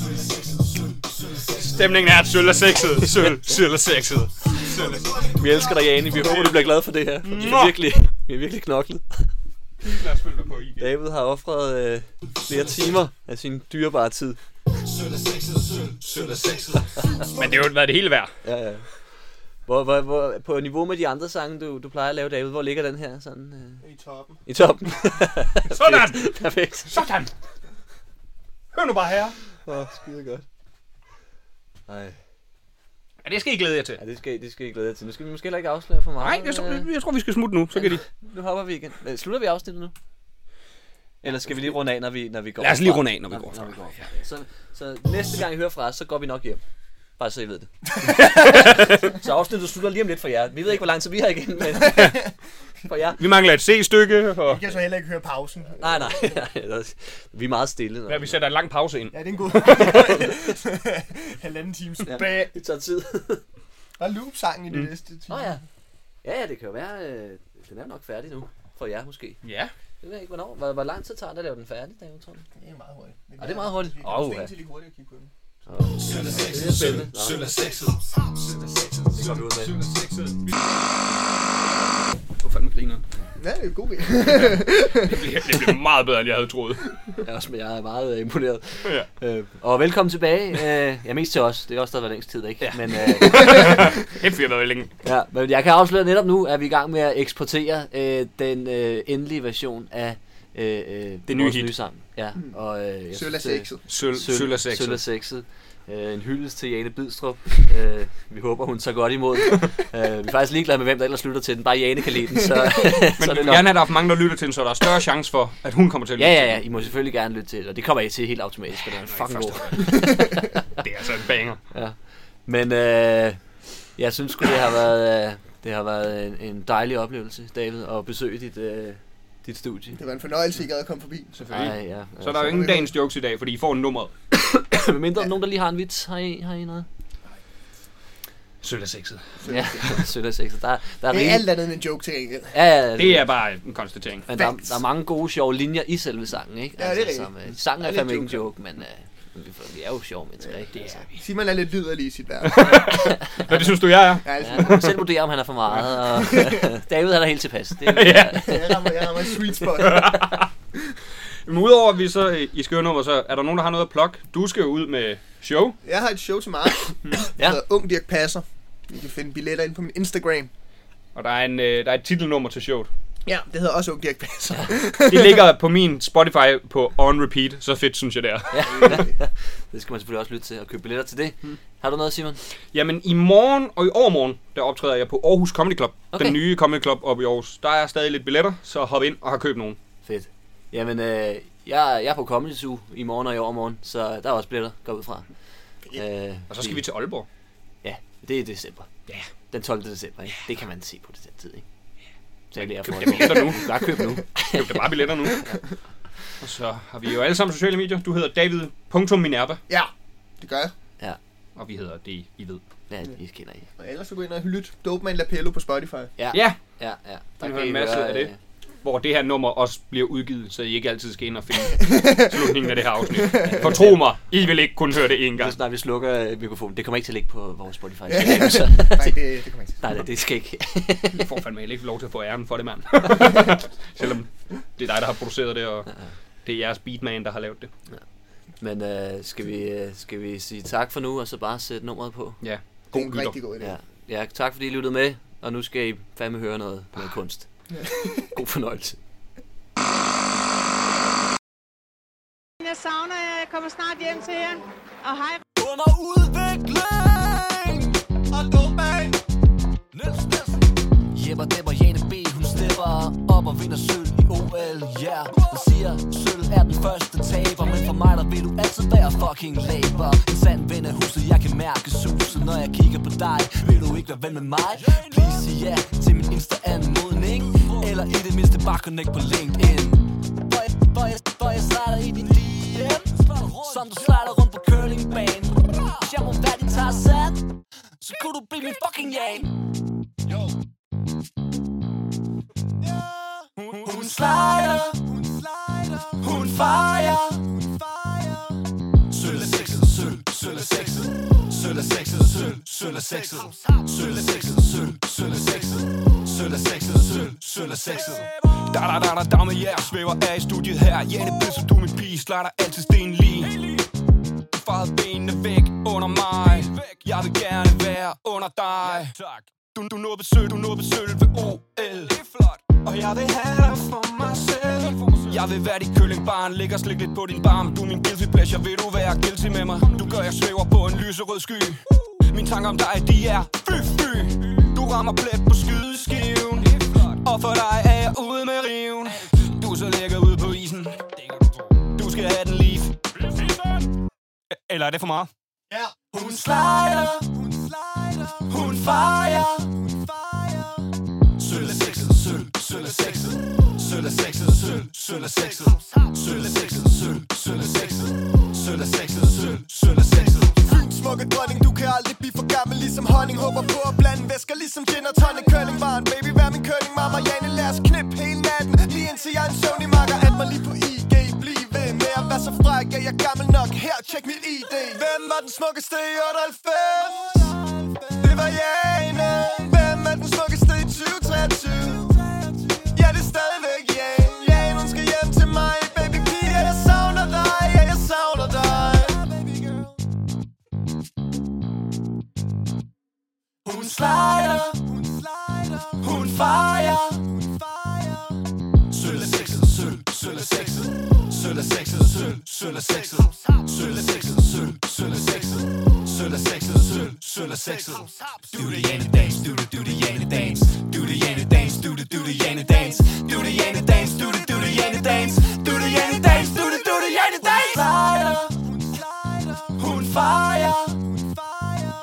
Speaker 4: Stemningen er, at sølv er sexet. Sølv, sølv er sexet. Sølv er
Speaker 5: Vi elsker dig, Jani. Vi håber, du bliver glad for det her. Vi er virkelig, vi er virkelig knoklet.
Speaker 4: sexet. på igen.
Speaker 5: David har offret øh, flere timer af sin dyrebare tid.
Speaker 4: Men det har jo været det hele værd.
Speaker 5: Ja, ja. Hvor, hvor, hvor, på niveau med de andre sange, du, du plejer at lave, David, hvor ligger den her sådan øh,
Speaker 6: I toppen.
Speaker 5: i toppen?
Speaker 4: Sådan!
Speaker 5: Perfekt.
Speaker 4: Sådan! Hør nu bare her.
Speaker 5: Åh, oh, skide godt. Ej.
Speaker 4: Ja, det skal I glæde jer til.
Speaker 5: Ja, det skal, det skal I glæde jer til. Nu skal vi måske heller ikke afsløre for meget.
Speaker 4: Nej, jeg,
Speaker 5: men,
Speaker 4: tror, jeg tror, vi skal smutte nu. Så kan de...
Speaker 5: øh, Nu hopper vi igen. Øh, Slutter vi afsnittet nu? Eller skal vi lige runde af, når vi, når vi går
Speaker 4: Lad os lige
Speaker 5: fra?
Speaker 4: runde af, når vi går
Speaker 5: Når vi
Speaker 4: fra.
Speaker 5: går fra. Så, så næste gang I hører fra os, så går vi nok hjem. Bare så I ved det. så afsnittet slutter lige om lidt for jer. Vi ved ikke, hvor lang tid vi har igen, men for jer.
Speaker 4: Vi mangler et C-stykke, og
Speaker 6: Jeg kan så heller ikke høre pausen.
Speaker 5: Nej, nej. nej. vi er meget stille.
Speaker 4: ja, vi sætter en lang pause ind.
Speaker 6: Ja, det er en god halvanden times
Speaker 5: Ja.
Speaker 6: bag.
Speaker 5: Det tager tid.
Speaker 6: Der er loop-sangen i det næste time.
Speaker 5: Nå ja. Ja, ja, det kan jo være, øh, den er nok færdig nu. For jer måske.
Speaker 4: Ja.
Speaker 5: Det ved jeg ikke, hvornår. Hvor, hvor lang tid tager det at lave den færdig, David, tror du?
Speaker 6: Det er meget hurtigt.
Speaker 5: Ah, det er meget hurtigt.
Speaker 6: Vi kan
Speaker 5: Åh,
Speaker 6: stenge
Speaker 5: ja.
Speaker 6: til lige hurtigt at kigge på den.
Speaker 5: Det er spændende. Nå, det går vi ud med.
Speaker 4: Hvor fanden griner
Speaker 6: Ja, det er god idé.
Speaker 4: Det blev meget bedre, end jeg havde troet.
Speaker 5: Jeg er, også, jeg er meget øh, imponeret.
Speaker 4: Ja.
Speaker 5: Øh, og velkommen tilbage. Øh, ja, mest til os. Det er også der har været længst tid, ikke? Ja. Men, øh,
Speaker 4: Kæft, vi har været længe.
Speaker 5: ja, men jeg kan afsløre netop nu, at vi er i gang med at eksportere øh, den øh, endelige version af øh, øh,
Speaker 4: nye
Speaker 5: vores
Speaker 4: hit.
Speaker 5: nye sang. Ja, og, øh, jeg
Speaker 6: Søl er
Speaker 5: synes, øh,
Speaker 6: sexet.
Speaker 4: Sølv,
Speaker 5: Søl,
Speaker 4: sølv er
Speaker 5: Søl er
Speaker 4: sexet.
Speaker 5: sexet. Øh, en hyldest til Jane Bidstrup. Øh, vi håber, hun tager godt imod. øh, vi er faktisk ligeglade med, hvem der ellers lytter til den. Bare Jane kan lide den, så,
Speaker 4: Men
Speaker 5: så er
Speaker 4: du
Speaker 5: det
Speaker 4: vil
Speaker 5: nok.
Speaker 4: gerne have, at der er for mange, der lytter til den, så der er større chance for, at hun kommer til at
Speaker 5: Ja,
Speaker 4: lytte
Speaker 5: ja, ja. I må selvfølgelig gerne lytte til det, og det kommer I til helt automatisk, for det er en fucking god.
Speaker 4: ja. Det er altså en banger.
Speaker 5: Men øh, jeg synes sgu, det har været, øh, det har været en, en dejlig oplevelse, David, at besøge dit, øh, dit studie.
Speaker 6: Det var en fornøjelse, I gad at komme forbi.
Speaker 4: Selvfølgelig.
Speaker 5: Ej, ja.
Speaker 4: Så er der jo ingen dagens jokes i dag, fordi I får nummeret.
Speaker 5: altså, med mindre nogen, der lige har en vits. Har I, har I noget?
Speaker 4: Sølv er sexet.
Speaker 5: Ja, sødt og sexet. Der, der er
Speaker 6: Det er
Speaker 5: rigeligt.
Speaker 6: alt andet end en joke til gengæld.
Speaker 5: Ja, ja,
Speaker 4: Det er bare en konstatering.
Speaker 5: Men der,
Speaker 6: facts.
Speaker 5: der er mange gode, sjove linjer i selve sangen, ikke?
Speaker 6: Ja, det er rigtigt.
Speaker 5: som, øh, sangen er
Speaker 6: Der er
Speaker 5: fandme ikke en
Speaker 6: lidt
Speaker 5: joke, men øh, vi, vi er jo sjove mennesker, ikke? Altså, Det er vi.
Speaker 6: Simon er lidt liderlig i sit værk.
Speaker 4: Hvad det synes du, jeg er?
Speaker 6: Ja, altså,
Speaker 5: Ja, selv vurdere, om han er for meget, og David han er helt tilpas. Det er,
Speaker 4: Ja.
Speaker 6: jeg rammer, jeg rammer et sweet spot.
Speaker 4: Men udover at vi så øh, i skøre nummer, så er der nogen, der har noget at plukke. Du skal jo ud med show.
Speaker 6: Jeg har et show til marts.
Speaker 5: Ja.
Speaker 6: ja. hedder Ung Dirk Passer. I kan finde billetter ind på min Instagram.
Speaker 4: Og der er, en, øh, der er et titelnummer til showet.
Speaker 6: Ja, det hedder også Ung Dirk Passer.
Speaker 4: Det ligger på min Spotify på on repeat. Så fedt, synes jeg, det er.
Speaker 5: det skal man selvfølgelig også lytte til og købe billetter til det. Har du noget, Simon?
Speaker 4: Jamen, i morgen og i overmorgen, der optræder jeg på Aarhus Comedy Club.
Speaker 5: Okay.
Speaker 4: Okay. Den nye Comedy Club oppe i Aarhus. Der er stadig lidt billetter, så hop ind og har købt nogen.
Speaker 5: Fedt. Jamen, øh, jeg, jeg er på Comedy Zoo i morgen og i overmorgen, så der er også billetter, går jeg ud fra. Øh,
Speaker 4: Og så skal vi til Aalborg.
Speaker 5: Ja, det er i december.
Speaker 4: Ja.
Speaker 5: Den 12. december, ikke? Det kan man se på det den tid, ikke? Så jeg lærer for
Speaker 4: Køb da billetter nu.
Speaker 5: Bare køb nu.
Speaker 4: Køb da bare billetter nu. Og så har vi jo alle sammen sociale medier. Du hedder David.minerva,
Speaker 6: ja, det gør jeg.
Speaker 4: og vi hedder det, I ved.
Speaker 5: Ja, det kender I.
Speaker 6: Og ellers så gå ind og lyt Dope Man Lapello på Spotify.
Speaker 4: Ja,
Speaker 5: Ja, ja.
Speaker 4: Vi har en masse af det. hvor det her nummer også bliver udgivet, så I ikke altid skal ind og finde slutningen af det her afsnit. For tro mig, I vil ikke kun høre det én gang.
Speaker 7: Så snart vi slukker øh, mikrofonen. Det kommer ikke til at ligge på vores Spotify. så,
Speaker 6: Nej, det, det kommer ikke til.
Speaker 7: nej, nej, det skal ikke.
Speaker 4: Jeg får fandme heller ikke lov til at få æren for det, mand. Selvom det er dig, der har produceret det, og det er jeres beatman, der har lavet det.
Speaker 7: Men øh, skal, vi, øh, skal vi sige tak for nu, og så bare sætte nummeret på?
Speaker 4: Ja,
Speaker 6: Det er
Speaker 4: god
Speaker 6: en
Speaker 4: lytter.
Speaker 6: rigtig god idé.
Speaker 7: Ja, ja tak fordi I lyttede med, og nu skal I fandme høre noget med
Speaker 4: Ah.
Speaker 7: kunst. God fornøjelse.
Speaker 8: Jeg savner jer. Jeg kommer snart hjem til jer. Og hej.
Speaker 9: under udvikling Og dumag Niels Nielsen
Speaker 5: Jepper depper Jane B, hun stepper op og vinder sølv i OL, yeah Hun siger, sølv er den første taber Men for mig der vil du altid være fucking laber En sand ven af huset, jeg kan mærke suset Når jeg kigger på dig, vil du ikke være ven med mig? Please sig ja til min Insta-anmodning Eller i det mindste bare connect på LinkedIn Hvor jeg, hvor jeg, hvor jeg slider i din DM Som du slider rundt på curlingbanen Jeg må være din Tarzan Så kunne du blive min fucking jam Hun slider, hun slider, hun fejrer, hun fejrer. Sølv er sexet, sølv, sølv er sexet, sølv er sexet, sølv, sølv er sexet, sølv er sexet, sølv, sølv er sexet, sølv er sexet, sølv, sølv er sexet.
Speaker 9: Da da da da da med jer Svæver af i studiet her Janne Bill, som du er min pige Slider altid sten lige Du farede benene væk under mig Jeg vil gerne være under dig Du, du nåede besøg, du nåede besøg ved OL Og jeg vil have dig for mig selv Jeg vil være dit køllingbarn Læg og slik lidt på din barm Du er min guilty pleasure Vil du være guilty med mig? Du gør, jeg svæver på en lyserød sky Mine tanker om dig, de er fy fy Du rammer plet på skydeskiven Og for dig er jeg ude med riven Du er så lækker ude på isen Du skal have den leaf Eller er det for meget? Hun slider, hun slider, hun fejrer, hun fejrer. Sølv er sexet, sølv, sølv er sexet, sølv er sexet, sølv, sølv er sexet, sølv er sexet, sølv, sølv er sexet, sølv er sexet, sølv, sølv er sexet.
Speaker 10: Fyns smukke dronning, du kan aldrig blive for gammel Ligesom honning, håber på at blande væsker Ligesom gin og tonic, curlingbarn Baby, vær min curling, mamma Jane, lad os knip hele natten Lige indtil jeg er en søvnig makker At mig lige på IG, bliv ved med at være så fræk Er jeg gammel nok? Her, tjek mit ID Hvem var den smukkeste i 98? Det var Jane Hvem er den smukkeste i 2023? Ja, det er stadigvæk Jane Jane, hun skal hjem til mig Baby pige, jeg savner dig Ja, jeg savner dig
Speaker 9: Hun slider, hun slider, hun fejrer, hun fejrer. Sølv er sexet, sølv, sølv er sexet, sølv er sexet, sølv, sølv er sexet, sølv er sexet, sølv, sølv er sexet, sølv er sexet, sølv, sølv er sexet. Do the Jane dance, do the, do the Jane dance, do the Jane dance, do the, do the Jane dance, do the Jane dance, do the, do the Jane dance, do the Jane dance, do the, do the Jane dance. Hun slider, hun fejrer, hun fejrer.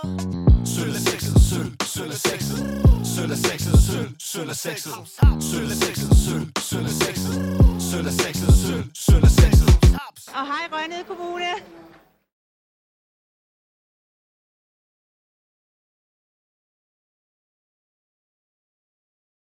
Speaker 9: Sølv er sexet, sølv, sølv er sexet Sølv er sexet, sølv, sølv er sexet Sølv er sexet, sølv, sølv er sexet Sølv er sexet, sølv, sølv er sexet
Speaker 8: Og hej Rønnede Kommune.